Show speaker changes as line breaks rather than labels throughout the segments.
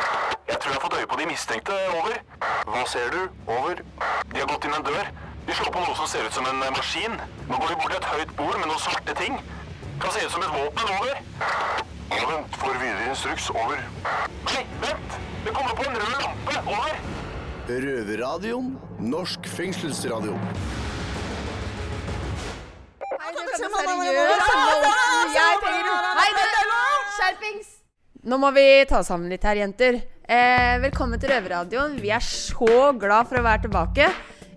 tror jeg har fått øye på de mistenkte. Over. Hva ser du? Over. De har gått inn en dør. De slår på noe som ser ut som en eh, maskin. Nå går de bort til et høyt bord med noen svarte ting. Kan se ut som et våpen. Over. Vent, får videre instruks. Over. Nei, vent! Det kommer på en rød lampe. Over.
Røverradioen. Norsk fengselsradio.
Nei, det er seriøst. Jeg trenger Hei, du! Skjerpings! Nå må vi ta oss sammen litt her, jenter. Eh, velkommen til Røverradioen. Vi er så glad for å være tilbake.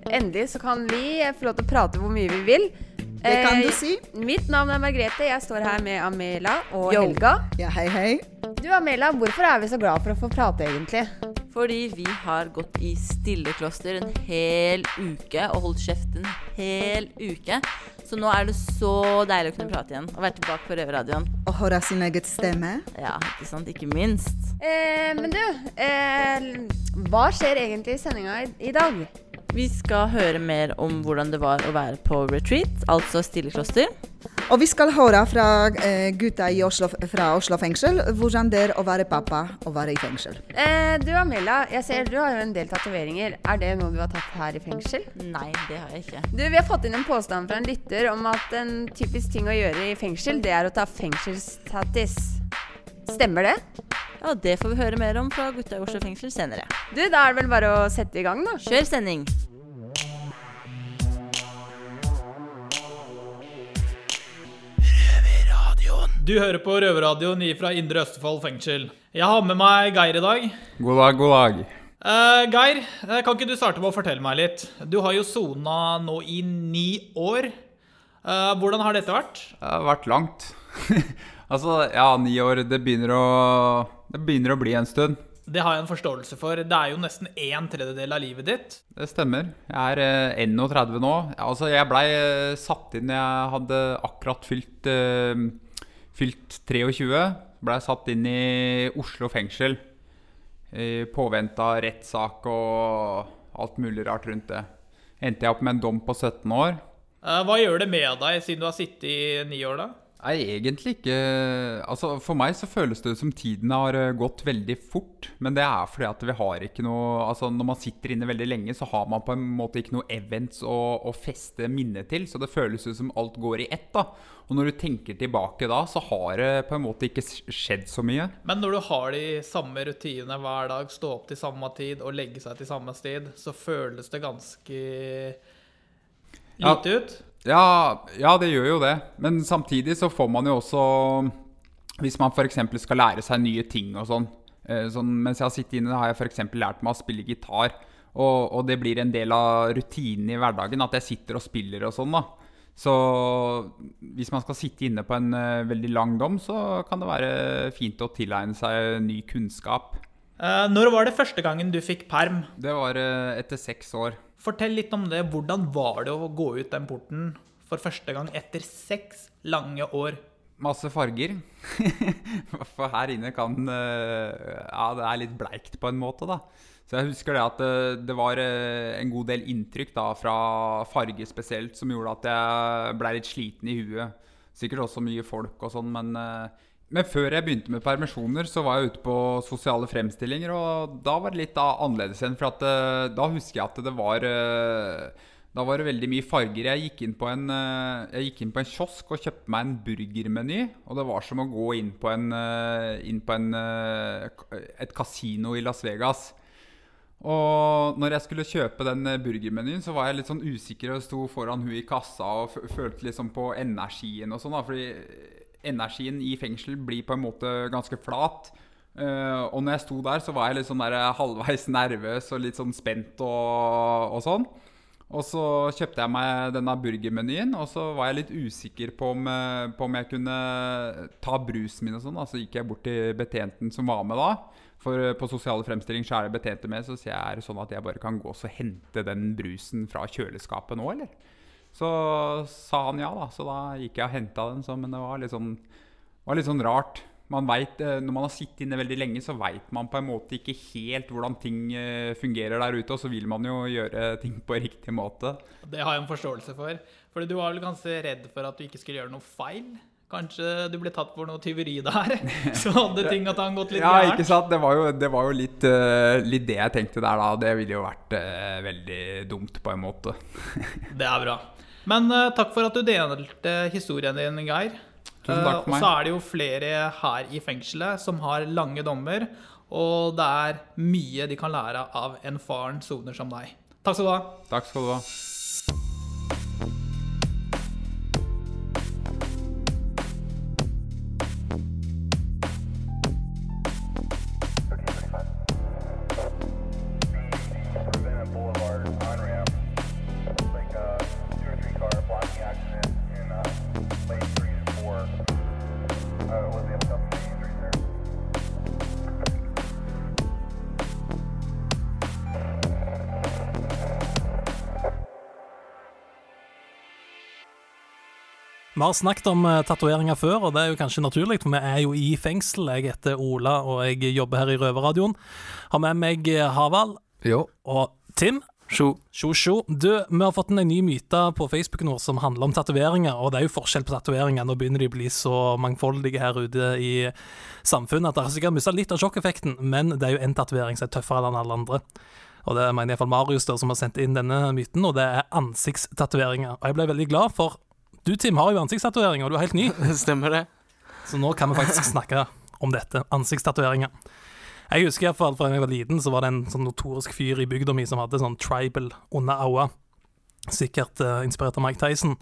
Endelig så kan vi eh, få lov til å prate hvor mye vi vil. Eh,
Det kan du si.
Mitt navn er Margrethe. Jeg står her med Amela og
Yo.
Helga.
Ja, hei, hei.
Du, Amela, hvorfor er vi så glad for å få prate, egentlig?
Fordi vi har gått i stillekloster en hel uke og holdt kjeft en hel uke. Så nå er det så deilig å kunne prate igjen og være tilbake på Røverradioen.
Å høre sin egen stemme.
Ja, ikke sant? Ikke minst.
Eh, men du, eh, hva skjer egentlig i sendinga i, i dag?
Vi skal høre mer om hvordan det var å være på retreat, altså stillekloster.
Og vi skal høre fra eh, gutta i Oslo, fra Oslo fengsel hvordan det er å være pappa og være i fengsel.
Eh, du, Amela, jeg ser du har jo en del tatoveringer. Er det noe du har tatt her i fengsel?
Nei, det har jeg ikke.
Du, Vi har fått inn en påstand fra en lytter om at en typisk ting å gjøre i fengsel, det er å ta fengselstattis. Stemmer det?
Ja, Det får vi høre mer om fra gutta i Oslo fengsel senere.
Du, Da er det vel bare å sette i gang, da.
Kjør sending!
Du hører på Røverradioen ifra Indre Østfold fengsel. Jeg har med meg Geir i dag.
God dag, god dag.
Eh, Geir, eh, kan ikke du starte med å fortelle meg litt? Du har jo sona nå i ni år. Eh, hvordan har dette vært?
Det har vært langt. altså, ja, ni år, det begynner å, det begynner å bli en stund.
Det har jeg en forståelse for. Det er jo nesten en tredjedel av livet ditt.
Det stemmer. Jeg er eh, 31 nå. Altså, jeg blei eh, satt inn Jeg hadde akkurat fylt, eh, fylt 23. Blei satt inn i Oslo fengsel. I påvente av rettssak og alt mulig rart rundt det. Endte jeg opp med en dom på 17 år.
Eh, hva gjør det med deg siden du har sittet i ni år, da?
Nei, egentlig ikke. Altså, For meg så føles det som tiden har eh, gått veldig fort. Men det er fordi at vi har ikke noe Altså, Når man sitter inne veldig lenge, så har man på en måte ikke noe events å, å feste minnet til. Så det føles ut som alt går i ett. da. Og når du tenker tilbake da, så har det på en måte ikke s- skjedd så mye.
Men når du har de samme rutinene hver dag, stå opp til samme tid og legge seg til samme tid, så føles det ganske
Ja.
lite ut.
Ja, ja, det gjør jo det. Men samtidig så får man jo også Hvis man f.eks. skal lære seg nye ting og sånn. eh, sånn mens jeg har sittet inne, har jeg f.eks. lært meg å spille gitar. Og, og det blir en del av rutinen i hverdagen at jeg sitter og spiller og sånn, da. Så hvis man skal sitte inne på en eh, veldig lang dom, så kan det være fint å tilegne seg ny kunnskap.
Eh, når var det første gangen du fikk perm?
Det var eh, etter seks år.
Fortell litt om det. Hvordan var det å gå ut den porten for første gang etter seks lange år?
Masse farger. For her inne kan eh, Ja, det er litt bleikt på en måte, da. Så jeg husker det at eh, det var eh, en god del inntrykk da fra farge spesielt som gjorde at jeg blei litt sliten i huet. Sikkert også mye folk og sånn, men eh, Men før jeg begynte med permisjoner, så var jeg ute på sosiale fremstillinger, og da var det litt da annerledes igjen, for at eh, da husker jeg at det var eh, da var det veldig mye farger. Jeg gikk inn på en, eh, jeg gikk inn på en kiosk og kjøpte meg en burgermeny. Og det var som å gå inn på, en, eh, inn på en, eh, k- et kasino i Las Vegas. Og når jeg skulle kjøpe den eh, burgermenyen, så var jeg litt sånn usikker og sto foran hun i kassa og f følte liksom på energien og sånn, da. Fordi energien i fengsel blir på en måte ganske flat. Eh, og når jeg sto der, så var jeg litt sånn der eh, halvveis nervøs og litt sånn spent og, og sånn. Og så kjøpte jeg meg denne burgermenyen, og så var jeg litt usikker på om, eh, på om jeg kunne ta brusen min og sånn. da. Så gikk jeg bort til betjenten som var med da. For eh, på sosiale fremstilling så er det betjente med, så sier jeg er det sånn at jeg bare kan gå og så hente den brusen fra kjøleskapet nå, eller? Så sa han ja, da. Så da gikk jeg og henta den, så, men det var litt sånn, var litt sånn rart. Man vet, eh, når man har sittet inne veldig lenge, så veit man på en måte ikke helt hvordan ting eh, fungerer der ute, og så vil man jo gjøre ting på riktig måte.
Det har jeg en forståelse for. Fordi du var vel ganske redd for at du ikke skulle gjøre noe feil? Kanskje du ble tatt for noe tyveri der? Så hadde tinga tang gått litt
Ja, ikke
gærent.
sant? Det var jo, det var jo litt, eh, litt det jeg tenkte der da. Det ville jo vært eh, veldig dumt på en måte.
Det er bra. Men eh, takk for at du delte historien din, Geir.
Tusen takk for
Eh, og
meg.
så er det jo flere her i fengselet som har lange dommer, og det er mye de kan lære av en faren soner som deg. Takk skal du ha.
Takk skal du ha.
Savannah Boulevard on ramp. Like uh, two or three car blocking accident in uh, lane three and four. Uh, was able to help the injuries there.
Vi har snakket om eh, tatoveringer før, og det er jo kanskje naturlig, for vi er jo i fengsel. Jeg heter Ola, og jeg jobber her i Røverradioen. Har med meg eh, Havald
Jo.
og Tim.
Sjo.
Sjo, sjo. Du, vi har fått en ny myte på Facebooken vår som handler om tatoveringer, og det er jo forskjell på tatoveringer. Nå begynner de å bli så mangfoldige her ute i samfunnet at dere sikkert mista litt av sjokkeffekten, men det er jo én tatovering som er tøffere enn alle andre. Og det mener iallfall Marius da, som har sendt inn denne myten, og det er ansiktstatoveringer. Og jeg ble veldig glad, for du, Tim, har jo ansiktstatoveringer, og du er helt ny.
Stemmer det?
Så nå kan vi faktisk snakke om dette. Ansiktstatoveringer. Jeg husker i hvert fall fra da jeg var liten, så var det en sånn notorisk fyr i bygda mi som hadde sånn tribal under øya. Sikkert eh, inspirert av Mike Tyson.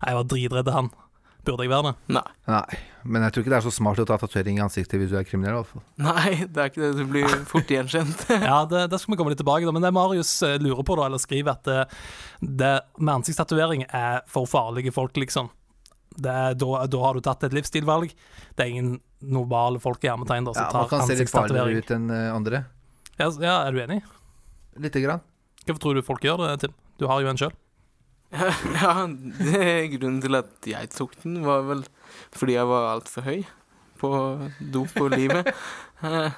Jeg var dritredd av han. Burde jeg være det?
Nei.
Nei, men jeg tror ikke det er så smart å ta tatovering i ansiktet hvis du er kriminell. i hvert fall.
Nei, det er ikke det. Du blir fort gjenkjent.
Ja, det, det skal vi komme litt tilbake til. Men det Marius eh, lurer på, da, eller skriver, at det, det med ansiktstatovering er for farlige folk, liksom. Det, er- da, da har du tatt et livsstilvalg. Det er ingen normale folk i hermetegn da, som
Ja, Man
tar
kan se litt farligere
Altså, ansiktstatovering.
ut enn eh, andre.
Ja, s- ja, er du enig?
Lite grann.
Hvorfor tror du folk gjør det, Tim? Du har jo en sjøl.
Ja, det, grunnen til at jeg tok den, var vel fordi jeg var altfor høy på dop og livet. Eh,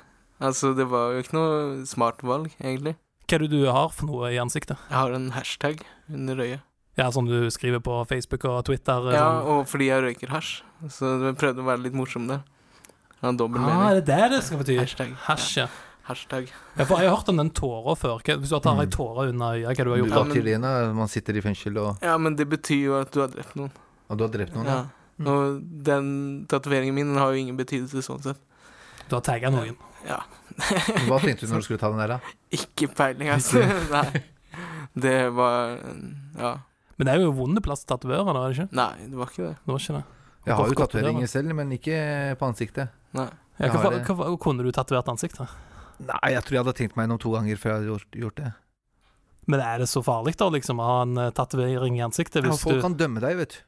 altså, det var jo ikke noe smart valg, egentlig.
Hva er det du har for noe i ansiktet?
Jeg har en hashtag under øyet.
Ja, Som du skriver på Facebook og Twitter?
Ja,
sånn.
og fordi jeg røyker hasj. Så jeg prøvde å være litt morsom der. Jeg har dobbel
ah,
mening.
er det det det skal bety?
Hashtag.
Hasj, ja.
Hashtag.
ja. For jeg har hørt om den tåra før. Hva, hvis du har tatt ei tåre under øyet, hva er det du har
Mm. Du
gjort?
Ja,
tar
men-
til igjen, da. man sitter i fengsel, og,
Ja, men det betyr jo at du har drept noen.
og du har drept noen.
Ja.
Ja.
Og
Mm.
den tatoveringen min den har jo ingen betydelse sånn sett.
Du har tagga noen.
Hva tenkte du når du skulle ta den der, da?
Ikke peiling, altså. Nei. Det var Ja.
Men det er jo en vond plass å tatovere, da, er det ikke?
Nei, det var ikke det.
Det var ikke det.
Jeg har jo
Hvorfor skal du
tatoveringer selv, men ikke på ansiktet.
Nei.
Ja,
Jeg
hva,
har
hva,
det.
hva- kunne du tatovert ansiktet?
Nei, jeg tror jeg hadde tenkt meg gjennom to ganger før jeg hadde gjort, gjort det.
Men er det så farlig, da, liksom, å ha en eh, tatovering i ansiktet?
Ja,
Hvis
folk
du...
kan dømme deg, vet du.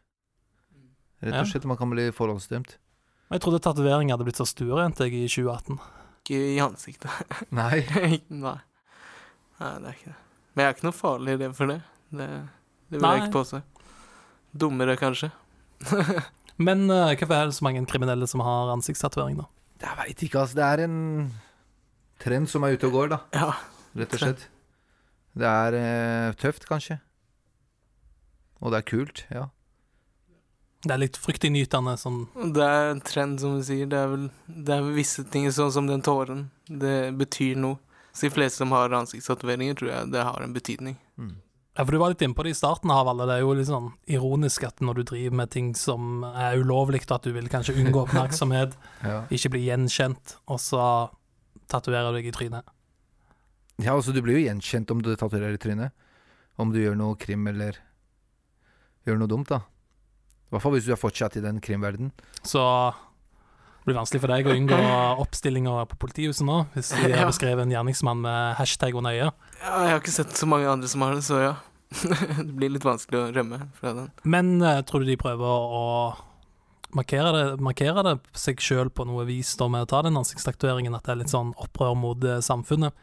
Rett
Ja.
og slett. Man kan bli forhåndsdømt.
Jeg trodde tatovering hadde blitt så stuerent jeg, i 2018.
Ikke i ansiktet.
Nei.
Nei. Nei, det er ikke det. Men jeg er ikke noe farlig redd for det. Det, det vil
Nei.
jeg ikke påstå. Dummere, kanskje.
Men eh, hvorfor er det så mange kriminelle som har ansiktstatovering, da?
Jeg veit ikke, altså. Det er en trend som er ute og går, da.
ja.
Rett og slett. Det er eh, tøft, kanskje. Og det er kult, ja.
Det er litt fryktinngytende, sånn
Og Det er en trend, som du sier. Det er vel det er visse ting, sånn som den tåren. Det betyr noe. Så de fleste som har ansiktstatoveringer, tror jeg det har en betydning.
Ja, for Du var litt inne på det i starten, Havalle. Det er jo litt sånn ironisk at når du driver med ting som er ulovlig, og at du vil kanskje unngå oppmerksomhet,
Ja,
ikke bli gjenkjent, og så tatoverer du deg i trynet.
ja altså, du blir jo gjenkjent om du tatoverer i trynet. Om du gjør noe krim eller gjør noe dumt, da. I hvert fall hvis du er fortsatt i den krimverdenen.
Så det blir vanskelig for deg å unngå oppstillinger på politihuset nå, hvis de har
Ja.
beskrevet en gjerningsmann med hashtag under øyet.
Ja, jeg har ikke sett så mange andre som har det, så ja. det blir litt vanskelig å rømme fra den.
Men eh, tror du de prøver å markere det, markere det seg sjøl på noe vis da med å ta den ansiktstatueringen, at det er litt sånn opprør mot eh, samfunnet?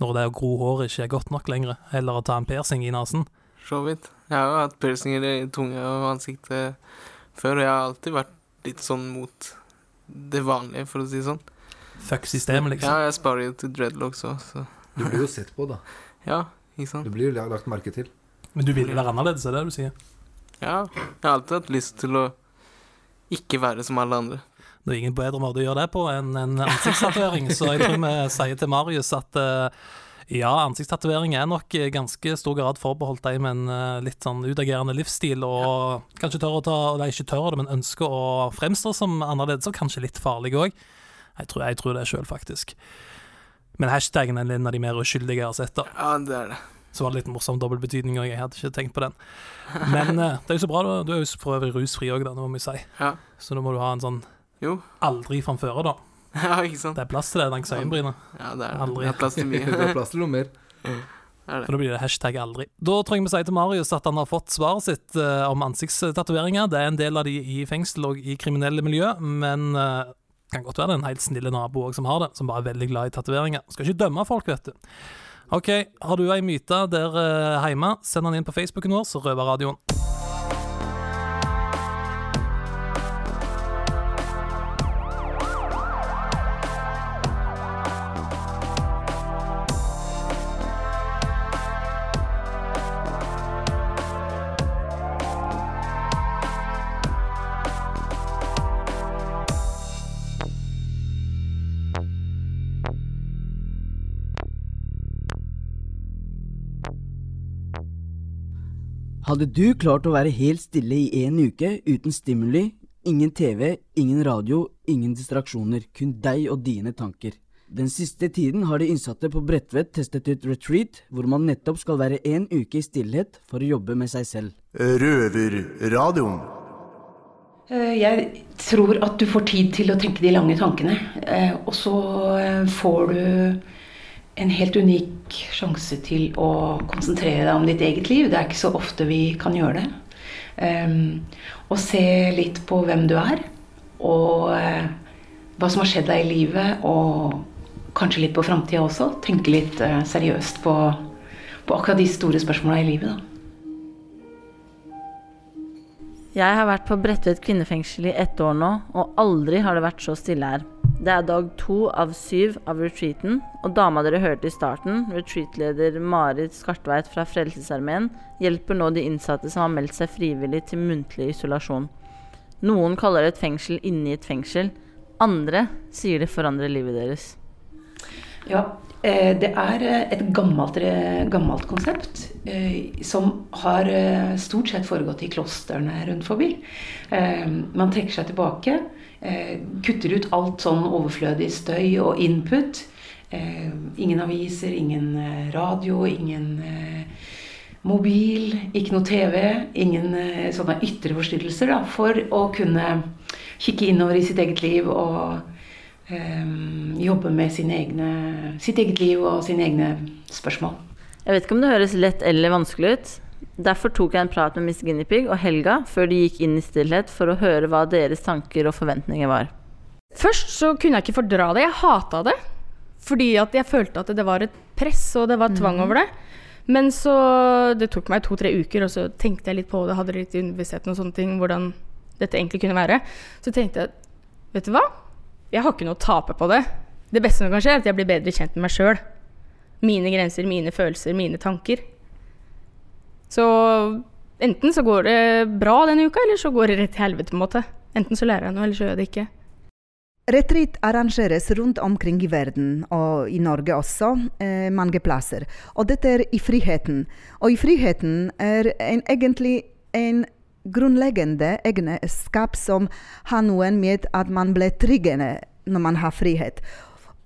Når det å gro håret ikke er godt nok lenger, eller å ta en persing i nesen.
Så vidt. Jeg har jo hatt piercinger i tunga og ansiktet før, og jeg har alltid vært litt sånn mot det vanlige, for å si det sånn.
Fuck systemet, liksom.
Ja, jeg sparer jo til dreadlocks òg, så
Du blir jo sett på, da.
ja, ikke sant.
blir jo lagt merke til.
Men du vil være annerledes, er det du sier?
Ja, jeg har alltid hatt lyst til å Ikke være som alle andre.
Det er ingen bedre måte å gjøre det på enn en ansiktstatovering, så jeg tror vi sier til Marius at eh, ja, ansiktstatovering er nok i ganske stor grad forbeholdt deg med en eh, litt sånn utagerende livsstil, og kanskje tør å ta, eller ikke tør det, men ønsker å fremstå som annerledes, og kanskje litt farlig òg. Jeg, tror- jeg tror det sjøl, faktisk. Men hashtaggen er en av de mer uskyldige jeg har sett, da.
Ja, det er det.
Så var det litt morsom dobbeltbetydning, og jeg hadde ikke tenkt på den. Men eh, det er jo så bra, da. Du er jo for øvrig rusfri òg, da, det må vi si.
Ja.
Så da må du ha en sånn
Jo.
aldri framføre, da.
Ja, ikke sant?
Det er plass til det langs øyenbrynet.
Ja, det er det.
Aldri.
Det er plass til mye.
Det er plass til noe mer.
Er
For da blir det hashtag aldri. Da trenger vi si til Marius at han har fått svaret sitt eh, om ansiktstatoveringer. Det er en del av de i fengsel og i kriminelle miljø, men eh, kan godt være det er en helt snille nabo også som har det, som bare er veldig glad i tatoveringer. Skal ikke dømme folk, vet du. OK, har du ei myte der eh, hjemme, send den inn på Facebooken vår, så røver radioen.
Hadde du klart å være helt stille i en uke uten stimuli, ingen TV, ingen radio, ingen distraksjoner, kun deg og dine tanker? Den siste tiden har de innsatte på Bredtvet testet ut retreat, hvor man nettopp skal være en uke i stillhet for å jobbe med seg selv.
Røverradioen.
Eh, Jeg tror at du får tid til å tenke de lange tankene. eh, Og så eh, får du en helt unik sjanse til å konsentrere deg om ditt eget liv. Det er ikke så ofte vi kan gjøre det. Ehm, Og se litt på hvem du er, og eh, hva som har skjedd deg i livet, og kanskje litt på framtida også. Tenke litt eh, seriøst på, på akkurat de store spørsmåla i livet, da.
Jeg har vært på Bredtvet kvinnefengsel i ett år nå, og aldri har det vært så stille her. Det er dag to av syv av retreaten, og dama dere hørte i starten, retreatleder Marit Skartveit fra Frelsesarmeen, hjelper nå de innsatte som har meldt seg frivillig til muntlig isolasjon. Noen kaller det et fengsel inni et fengsel, andre sier det forandrer livet deres.
Ja, eh, det er eh, et gammelt, eh, gammelt konsept eh, som har eh, stort sett foregått i klostrene rundt forbi. Eh, Man trekker seg tilbake, eh, kutter ut alt sånn overflødig støy og input. Eh, Ingen aviser, ingen eh, radio, ingen eh, mobil, ikke noe TV, ingen eh, sånne ytre forstyrrelser da, for å kunne kikke innover i sitt eget liv og eh, jobbe med sine egne, sitt eget liv og sine egne spørsmål.
Jeg vet ikke om det høres lett eller vanskelig ut. Derfor tok jeg en prat med Miss Guinepeig og Helga før de gikk inn i stillhet for å høre hva deres tanker og forventninger var.
Først så kunne jeg ikke fordra det. Jeg hata det. Fordi at jeg følte at det var et press, og det var tvang
Mhm.
over det. Men så Det tok meg to-tre uker, og så tenkte jeg litt på det, hadde litt i universiteten og sånne ting, hvordan dette egentlig kunne være. Så tenkte jeg at vet du hva, jeg har ikke noe å tape på det. Det beste som kan skje, er at jeg blir bedre kjent med meg sjøl. Mine grenser, mine følelser, mine tanker. Så enten så går det bra denne uka, eller så går det rett til helvete, på en måte. Enten så lærer jeg noe, eller så gjør jeg det ikke.
Retreat arrangeres rundt omkring i verden, og i Norge også, eh, mange plasser. Og dette er i friheten. Og i friheten er en, egentlig en grunnleggende egenskap som har noen med at man blir tryggende når man har frihet.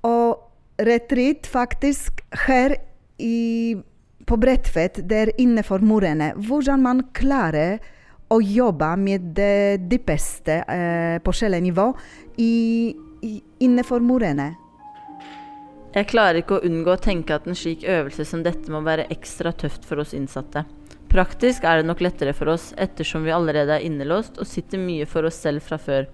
Og retreat faktisk her i, på Bredtvet, der innenfor murene, hvordan man klarer å jobbe med det dypeste eh, forskjellige i, i, innenfor murene.
Jeg klarer ikke å unngå å tenke at en slik øvelse som dette må være ekstra tøft for oss innsatte. Praktisk er det nok lettere for oss ettersom vi allerede er innelåst og sitter mye for oss selv fra før.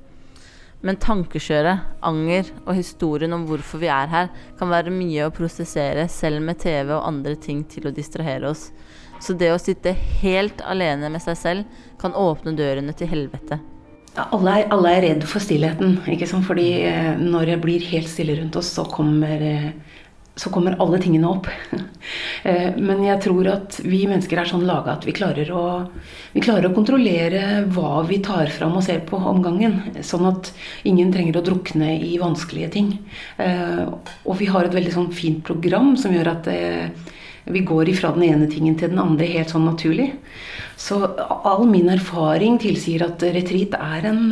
Men tankekjøret, anger og historien om hvorfor vi er her, kan være mye å prosessere selv med TV og andre ting til å distrahere oss. Så det å sitte helt alene med seg selv kan åpne dørene til helvete.
Ja, alle, er, alle er redd for stillheten, ikke sant? fordi eh, når det blir helt stille rundt oss, så kommer eh, så kommer alle tingene opp. Eh, Men jeg tror at vi mennesker er sånn laga at vi klarer, å, vi klarer å kontrollere hva vi tar fram og ser på om gangen. Sånn at ingen trenger å drukne i vanskelige ting. Eh, Og vi har et veldig sånn fint program som gjør at eh, vi går ifra den ene tingen til den andre helt sånn naturlig. Så all min erfaring tilsier at retreat er en,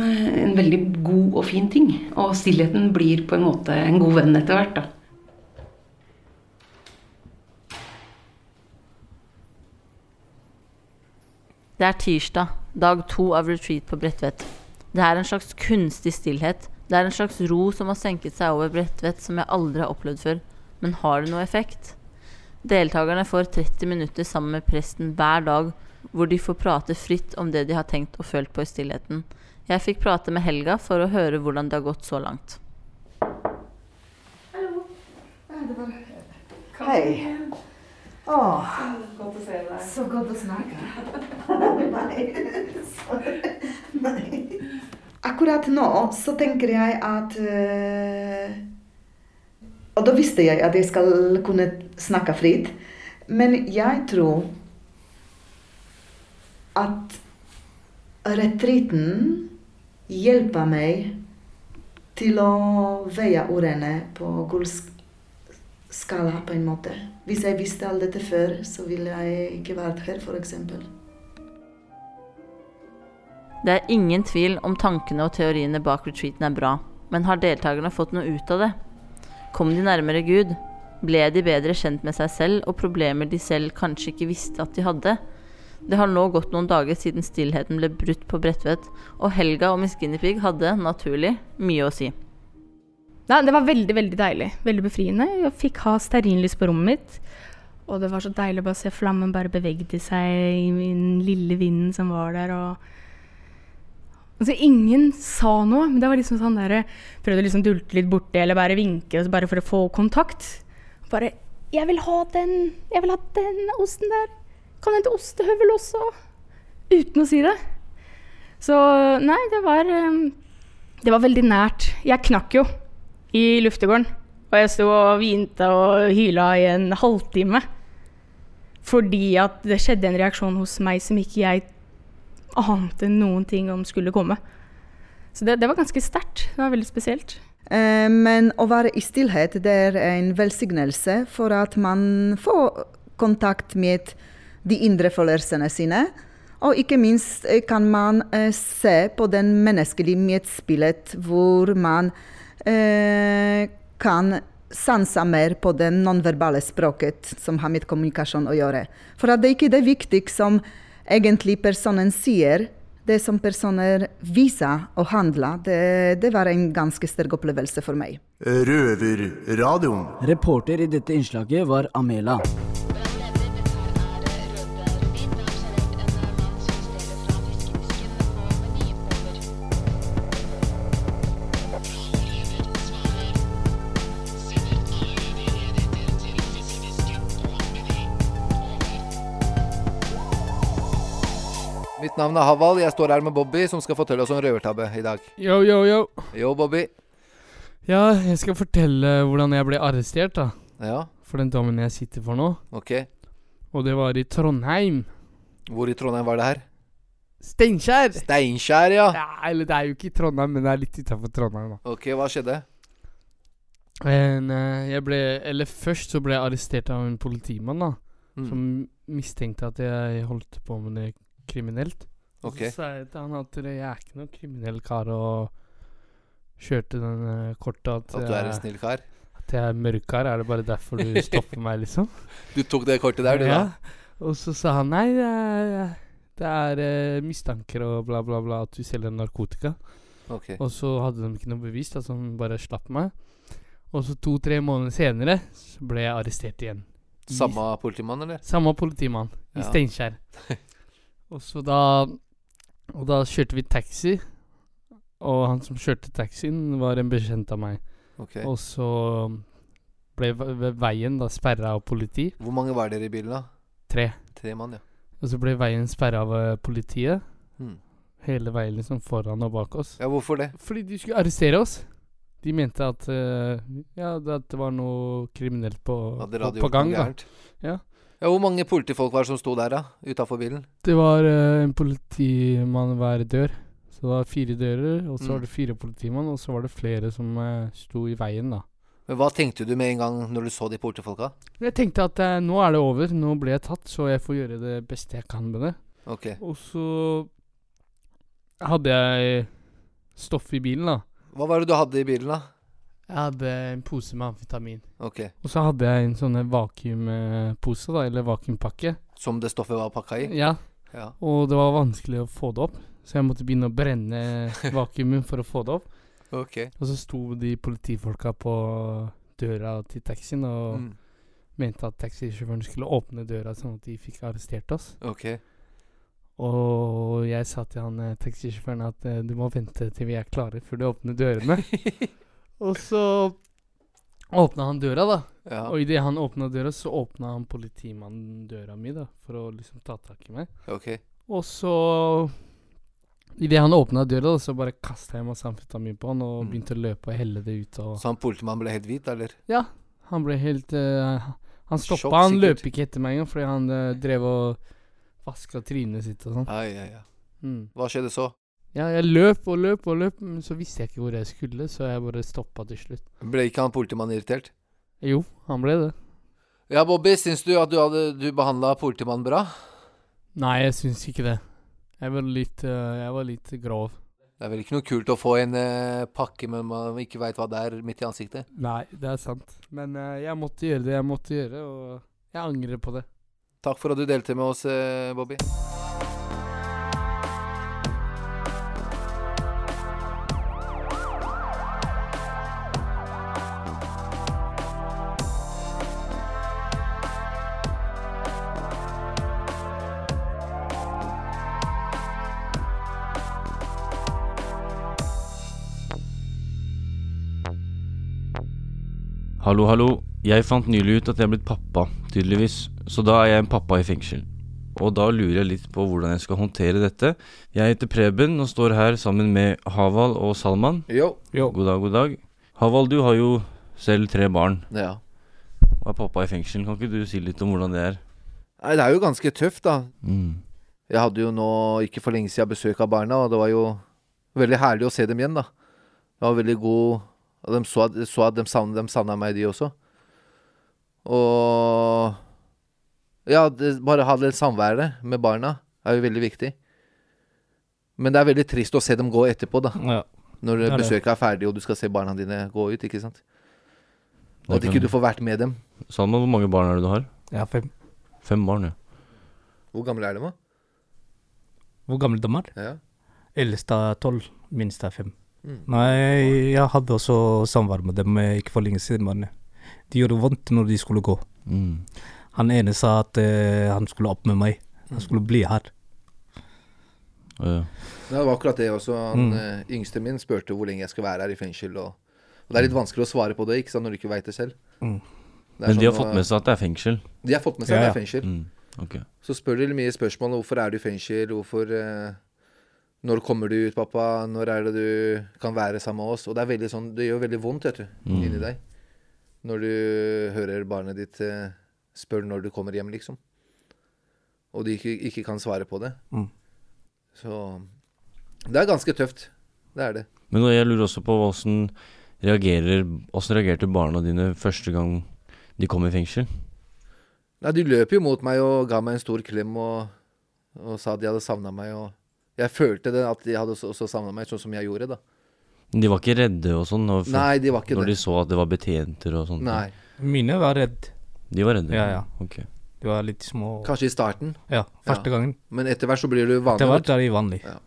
en veldig god og fin ting. Og stillheten blir på en måte en god venn etter hvert, da.
Det er tirsdag, dag to av retreat på Bredtvet. Det er en slags kunstig stillhet. Det er en slags ro som har senket seg over Bredtvet som jeg aldri har opplevd før. Men har det noe effekt? Deltakerne får 30 minutter sammen med presten hver dag, hvor de får prate fritt om det de har tenkt og følt på i stillheten. Jeg fikk prate med Helga for å høre hvordan det har gått så langt.
Hei. Åh,
Godt å se deg.
så godt å snakke. Akkurat nå så tenker jeg at eh, Og da visste jeg at jeg skal kunne snakke fritt. Men jeg tror at retreaten hjelper meg til å veie ordene på gullskala skala på en måte. Hvis jeg visste alt dette før, så ville jeg ikke vært her, f.eks.
Det er ingen tvil om tankene og teoriene bak retreaten er bra, men har deltakerne fått noe ut av det? Kom de nærmere Gud? Ble de bedre kjent med seg selv og problemer de selv kanskje ikke visste at de hadde? Det har nå gått noen dager siden stillheten ble brutt på Bredtvet, og Helga og Miss Guinea Pig hadde, naturlig, mye å si.
Nei, det var veldig, veldig deilig. Veldig befriende. Jeg fikk ha stearinlys på rommet mitt. Og det var så deilig å bare se flammen bare bevegde seg i den lille vinden som var der. og... Altså, ingen sa noe, men det var liksom sånn der, prøvde å liksom dulte litt borti eller bare vinke altså bare for å få kontakt. Bare 'Jeg vil ha den! Jeg vil ha den osten der! Kan du hente ostehøvel også?' Uten å si det. Så nei, det var eh, Det var veldig nært. Jeg knakk jo i luftegården. Og jeg sto og hvinte og hyla i en halvtime. Fordi at det skjedde en reaksjon hos meg som ikke jeg ante noen ting om skulle komme. Så det, det var ganske sterkt. Det var veldig spesielt.
Eh, Men å være i stillhet det er en velsignelse for at man får kontakt med de indre følelsene sine. Og ikke minst eh, kan man eh, se på den menneskelige medspillet hvor man eh, kan sanse mer på det nonverbale språket som har med kommunikasjon å gjøre. For at det ikke er viktig som egentlig personen sier, det som personer viser og handler, det, det var en ganske sterk opplevelse for meg.
Røverradioen.
Reporter i dette innslaget var Amela.
Mitt navn er Haval, jeg står her med Bobby, som skal fortelle oss om røvertabbe i dag.
Yo, yo, yo.
Yo, Bobby.
Ja, jeg skal fortelle hvordan jeg ble arrestert, da.
Ja.
For den dommen jeg sitter for nå.
Ok.
Og det var i Trondheim.
Hvor i Trondheim var det her?
Steinkjer.
Steinkjer, ja.
Eller det er jo ikke i Trondheim, men det er litt utafor Trondheim, da.
Ok, hva skjedde?
Men, eh, jeg ble Eller først så ble jeg arrestert av en politimann, da.
Mm.
Som mistenkte at jeg holdt på med det kriminelt. Og
Ok.
Så sa jeg til han at jeg er ikke noen kriminell kar, og kjørte den eh, kortet at
At du er en
jeg-
snill kar?
At jeg er mørkkar, er det bare derfor du stopper meg, liksom?
Du tok det kortet der, du,
ja.
da?
Og så sa han nei, det er, det er eh, mistanker og bla, bla, bla, at du selger narkotika.
Ok.
Og så hadde de ikke noe bevis, da, så han bare slapp meg. Og så to-tre måneder senere så ble jeg arrestert igjen. I-
Samme politimann, eller?
Samme politimann, i
Ja.
Steinkjer. Og så da Og da kjørte vi taxi, og han som kjørte taxien, var en bekjent av meg.
Ok.
Og så ble ve- ve- veien da sperra av politi.
Hvor mange var dere i bilen, da?
Tre.
Tre mann, ja.
Og så ble veien sperra av eh, politiet.
Mm.
Hele veien liksom foran og bak oss.
Ja, Hvorfor det?
Fordi de skulle arrestere oss. de mente at, eh, ja, at det var noe kriminelt på,
Hadde
på,
radio
på
gjort noe
gang. Da.
gærent?
Ja.
Hvor mange politifolk var det som sto der, da? Utafor bilen?
Det var eh, en politimann hver dør. Så det var fire dører, og så
Mm.
var det fire politimann, og så var det flere som eh, sto i veien, da.
Men Hva tenkte du med en gang når du så de politifolka?
Men jeg tenkte at eh, nå er det over, nå ble jeg tatt, så jeg får gjøre det beste jeg kan med det.
Ok.
Og så hadde jeg stoff i bilen, da.
Hva var det du hadde i bilen, da?
Jeg hadde en pose med amfetamin.
Ok.
Og så hadde jeg en sånn vakuumpose, da, eller vakuumpakke.
Som det stoffet var pakka i?
Ja.
Ja.
Og det var vanskelig å få det opp, så jeg måtte begynne å brenne vakuumet for å få det opp.
Ok.
Og så sto de politifolka på døra til taxien og
Mm.
mente at taxisjåføren skulle åpne døra, sånn at de fikk arrestert oss.
Ok.
Og jeg sa til han eh, taxisjåføren at eh, du må vente til vi er klare før du åpner dørene. og så åpna han døra, da.
Ja.
Og idet han åpna døra, så åpna han politimannen døra mi, da, for å liksom ta tak i meg.
Ok.
Og så Idet han åpna døra, da, så bare kasta jeg masse amfetamin på han og
Mm.
begynte å løpe og helle det ut. Og
Så han politimannen ble helt hvit, eller?
Ja. Han ble helt eh, Han
Sjokk,
stoppa, han
sikkert.
løp ikke etter meg engang fordi han eh, drev og vaska trynet sitt og sånn.
Ai, ai, ai.
Mm.
Hva skjedde så?
Ja, jeg løp og løp og løp, men så visste jeg ikke hvor jeg skulle, så jeg bare stoppa til slutt.
Ble ikke han politimannen irritert?
Jo, han ble det.
Ja, Bobby, syns du at du, hadde- du behandla politimannen bra?
Nei, jeg syns ikke det. Jeg var litt, eh, jeg var litt grov.
Det er vel ikke noe kult å få en eh, pakke men man ikke veit hva det er, midt i ansiktet?
Nei, det er sant. Men eh, jeg måtte gjøre det jeg måtte gjøre, og jeg angrer på det.
Takk for at du delte med oss, eh, Bobby.
Hallo, hallo. Jeg fant nylig ut at jeg er blitt pappa, tydeligvis. Så da er jeg en pappa i fengsel. Og da lurer jeg litt på hvordan jeg skal håndtere dette. Jeg heter Preben og står her sammen med Haval og Salman.
Jo.
God dag, god dag. Haval, du har jo selv tre barn.
Ja.
Og er pappa i fengsel. Kan ikke du si litt om hvordan det er?
Nei, det er jo ganske tøft, da.
Mm.
Jeg hadde jo nå ikke for lenge siden besøk av barna, og det var jo veldig herlig å se dem igjen, da. Det var veldig god Og de så at, så at de, savnet, de savna meg, de også. Og Ja, det, bare ha det samværet med barna er jo veldig viktig. Men det er veldig trist å se dem gå etterpå, da.
Ja.
Når
Det er det.
besøket er ferdig, og du skal se barna dine gå ut, ikke sant. Og at
Det
ikke
kan-
du får vært med dem.
Salman, hvor mange barn er det du har?
Jeg har fem.
Fem barn, ja.
Hvor gamle er de, da?
Hvor gamle de er?
Ja.
Eldste er tolv, minste er fem.
Mm.
Nei, jeg hadde også samvær med dem eh, ikke for lenge siden. Men de gjorde vondt når de skulle gå.
Mm.
Han ene sa at eh, han skulle opp med meg. Han skulle bli her.
Ja, Det var akkurat det også. Han
Mm.
eh, yngste min spurte hvor lenge jeg skal være her i fengsel. Og, og det er litt vanskelig å svare på det ikke sant, når du ikke veit det selv.
Mm.
Det er
Men de har
sånn,
fått med seg at det er fengsel?
De har fått med seg at
Ja,
det er
ja.
fengsel.
Mm, ok.
Så spør de mye spørsmål. Hvorfor er du i fengsel? Hvorfor eh, Når kommer du ut, pappa? Når er det du kan være sammen med oss? Og det, er veldig sånn, det gjør veldig vondt vet du,
Mm.
inni deg når du hører barnet ditt eh, spør når du kommer hjem, liksom. Og de ikke, ikke kan svare på det.
Mm.
Så det er ganske tøft. Det er det.
Men jeg lurer også på hvordan, reagerer, hvordan reagerte barna dine første gang de kom i fengsel?
Nei, de løp jo mot meg og ga meg en stor klem og, og sa at de hadde savna meg. Og jeg følte det at de hadde også, også savna meg, sånn som jeg gjorde, da.
De var ikke redde og sånn? når-
Nei, de var ikke
Når
det.
de så at det var betjenter og sånt?
Nei.
Mine var redde.
De var redde?
Ja, ja.
Ok.
De var litt små.
Kanskje i starten.
Ja, første
Ja.
gangen.
Men etter hvert så blir du vanlig.
Det var
vet du.
veldig vanlig.
Ja.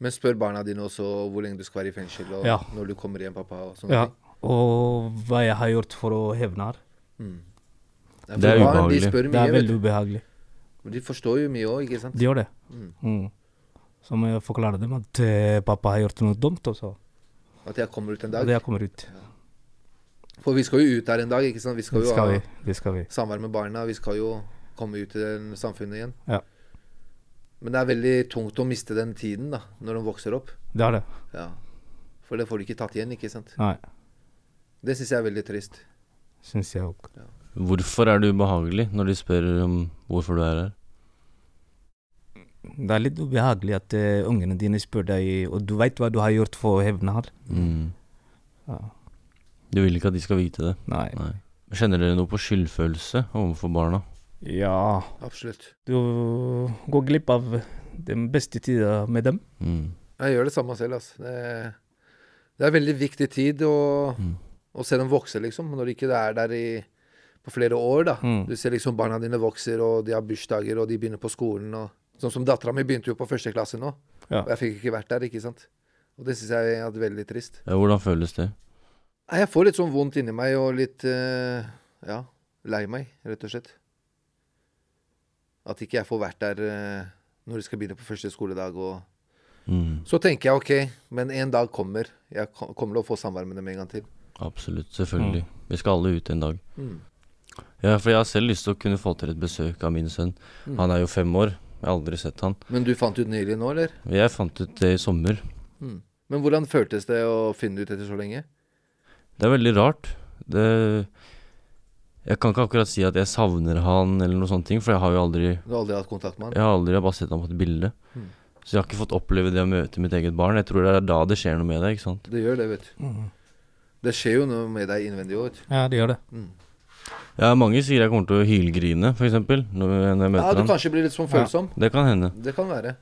Men spør barna dine også hvor lenge du skal være i fengsel, og
Ja.
når du kommer hjem, pappa, og sånne
Ja.
ting.
Og hva jeg har gjort for å hevne her.
Mm.
Det er
for barn,
ubehagelig.
De spør mye,
Det er
vet
veldig
du.
ubehagelig.
Men De forstår jo mye òg, ikke sant?
De gjør det.
Mm.
Mm. Så må jeg forklare dem at eh, pappa har gjort noe dumt også.
At jeg kommer ut en dag.
Og jeg kommer ut.
For vi skal jo ut der en dag, ikke sant? Vi skal
Det
jo
skal
ha
vi. Det skal vi.
samvær med barna. Vi skal jo komme ut i den samfunnet igjen.
Ja.
Men det er veldig tungt å miste den tiden da, når de vokser opp.
Det er det.
Ja. For det får du ikke tatt igjen, ikke sant?
Nei.
Det syns jeg er veldig trist.
Syns jeg òg.
Hvorfor er det ubehagelig når de spør om hvorfor du er her?
Det er litt ubehagelig at eh, ungene dine spør deg Og du veit hva du har gjort for å hevne her.
Mm.
Ja.
Du vil ikke at de skal vite det?
Nei.
Kjenner dere noe på skyldfølelse overfor barna?
Ja.
Absolutt.
Du går glipp av den beste tida med dem.
Jeg gjør det samme selv, altså. Det, det er veldig viktig tid å,
Mm.
å se dem vokse, liksom. Når de ikke er der i, på flere år, da.
Mm.
Du ser liksom barna dine vokser, og de har bursdager, og de begynner på skolen. Og, sånn som dattera mi begynte jo på første klasse nå.
Ja.
Og jeg fikk ikke vært der, ikke sant. Og det syns jeg er veldig trist.
Ja, hvordan føles det?
Nei, jeg får litt sånn vondt inni meg, og litt eh, ja, lei meg, rett og slett. At ikke jeg får vært der eh, når de skal begynne på første skoledag. og...
Mm.
Så tenker jeg ok, men en dag kommer. Jeg ko- kommer til å få samvær med dem en gang til.
Absolutt, selvfølgelig. Vi skal alle ut en dag.
Mm.
Ja, for jeg har selv lyst til å kunne få til et besøk av min sønn.
Mm.
Han er jo fem år. Jeg har aldri sett han.
Men du fant ut nylig nå, eller?
Jeg fant ut det i sommer.
Mm. Men hvordan føltes det å finne ut etter så lenge?
Det er veldig rart. Det Jeg kan ikke akkurat si at jeg savner han, eller noe sånne ting, for jeg har jo aldri
Du har aldri hatt kontakt med han?
Jeg har aldri jeg har bare sett ham på et bilde.
Mm.
Så jeg har ikke fått oppleve det å møte mitt eget barn. Jeg tror det er da det skjer noe med deg, ikke sant.
Det gjør det, vet du.
Mm.
Det skjer jo noe med deg innvendig òg, vet du.
Ja, det gjør det.
Mm.
Ja, mange sier jeg kommer til å hylgrine, f.eks., når jeg når jeg møter
Ja, du
han.
kanskje blir litt sånn følsom.
Det kan hende.
Det kan være.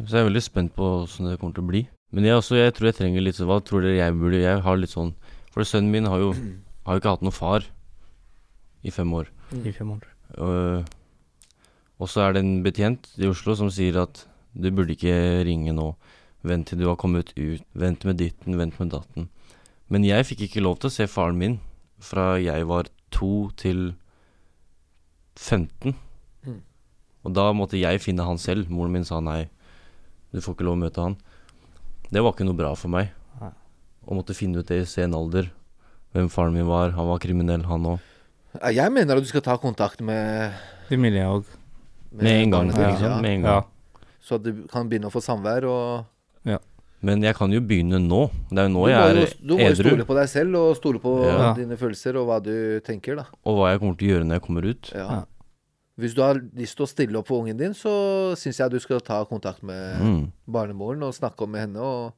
Så jeg er veldig spent på hvordan det kommer til å bli. Men jeg, også, jeg tror jeg trenger litt sånn Hva tror dere jeg burde Jeg har litt sånn For sønnen min har jo Har jo ikke hatt noen far i fem år.
Mm. I fem år.
Øh, og så er det en betjent i Oslo som sier at du burde ikke ringe nå. Vent til du har kommet ut. Vent med ditten, vent med datten. Men jeg fikk ikke lov til å se faren min fra jeg var to til 15.
Mm.
Og da måtte jeg finne han selv. Moren min sa nei, du får ikke lov å møte han. Det var ikke noe bra for meg.
Nei.
Å måtte finne ut det i sen alder. Hvem faren min var. Han var kriminell, han òg.
Ja, Jeg mener at du skal ta kontakt med
Det mener jeg òg.
Med en gang.
barnet ditt,
liksom. Med en gang.
Så at du kan begynne å få samvær og
Men jeg kan jo begynne nå. Det er jo nå
du, må
jeg er
jo, du må jo
edru.
stole på deg selv, og stole på
Ja.
dine følelser og hva du tenker, da.
Og hva jeg kommer til å gjøre når jeg kommer ut.
Ja. Hvis du har lyst til å stille opp for ungen din, så syns jeg du skal ta kontakt med
Mm.
barnemoren og snakke om med henne. og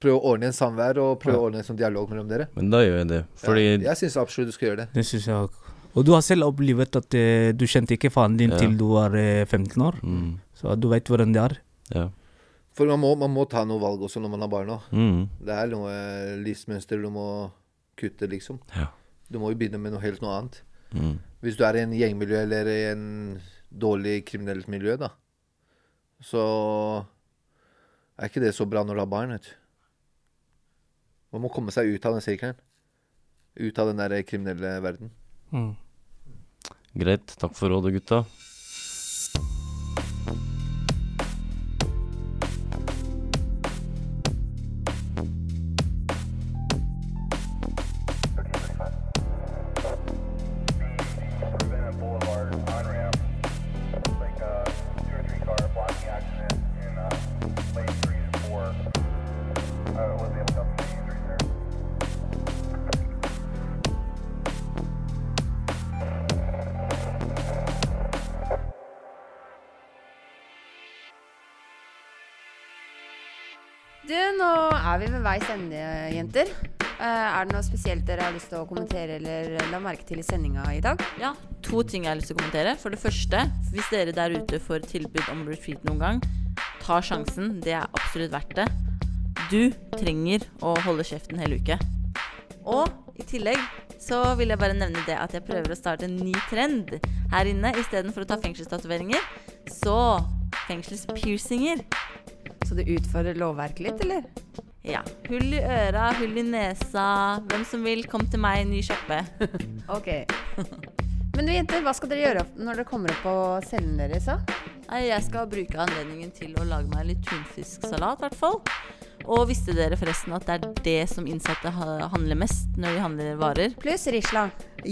Prøve å ordne en samvær og prøve å ordne en sånn dialog mellom dere.
Men da gjør jeg det. Fordi
Jeg syns absolutt du skal gjøre det.
Det syns jeg òg. Og du har selv opplevd at eh, du kjente ikke faren din
Ja.
til du var eh, 15 år.
Mm.
Så du veit hvordan det er.
For man må, man må ta noe valg også når man har barn òg.
Mm.
Det er noe eh, livsmønster du må kutte, liksom.
Ja.
Du må jo begynne med noe helt noe annet.
Mm.
Hvis du er i en gjengmiljø eller i en dårlig kriminelt miljø, da, så er ikke det så bra når du har barn, vet du. Man må komme seg ut av den sirkelen. Ut av den der kriminelle verden.
Mm.
Greit. Takk for rådet, gutta.
Du, nå er vi ved veis ende, jenter. Eh, er det noe spesielt dere har lyst til å kommentere eller la merke til i sendinga i dag?
Ja. To ting jeg har lyst til å kommentere. For det første, hvis dere der ute får tilbud om retreat noen gang, ta sjansen. Det er absolutt verdt det. Du trenger å holde kjeften hele uke. Og i tillegg så vil jeg bare nevne det at jeg prøver å starte en ny trend her inne. Istedenfor å ta fengselstatoveringer, så fengselspiercinger.
Så du utfordrer lovverket litt, eller?
Ja. Hull i øra, hull i nesa. Hvem som vil, kom til meg, ny sjappe.
Ok. Men du jenter, hva skal dere gjøre opp når dere kommer opp på cellen deres? da?
Nei, jeg skal bruke anledningen til å lage meg litt tunfisksalat, i hvert fall. Og visste dere forresten at det er det som innsatte ha- handler mest når de handler varer?
Pluss Risla.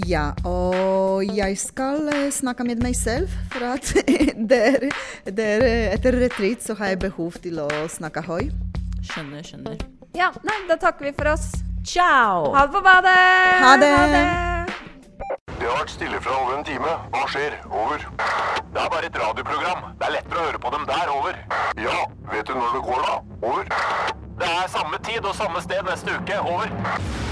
Ja, og jeg skal eh, snakke med meg selv, for at der, der, eh, etter retreat så har jeg behov til å snakke høy.
Skjønner, skjønner.
Ja, nei, da takker vi for oss.
Ciao!
Ha det på badet!
Ha det.
Det har vært stille fra over en time. Hva skjer? Over. Det er bare et radioprogram. Det er lettere å høre på dem der. Over. Ja, vet du når det går, da? Over. Det er samme tid og samme sted neste uke. Over.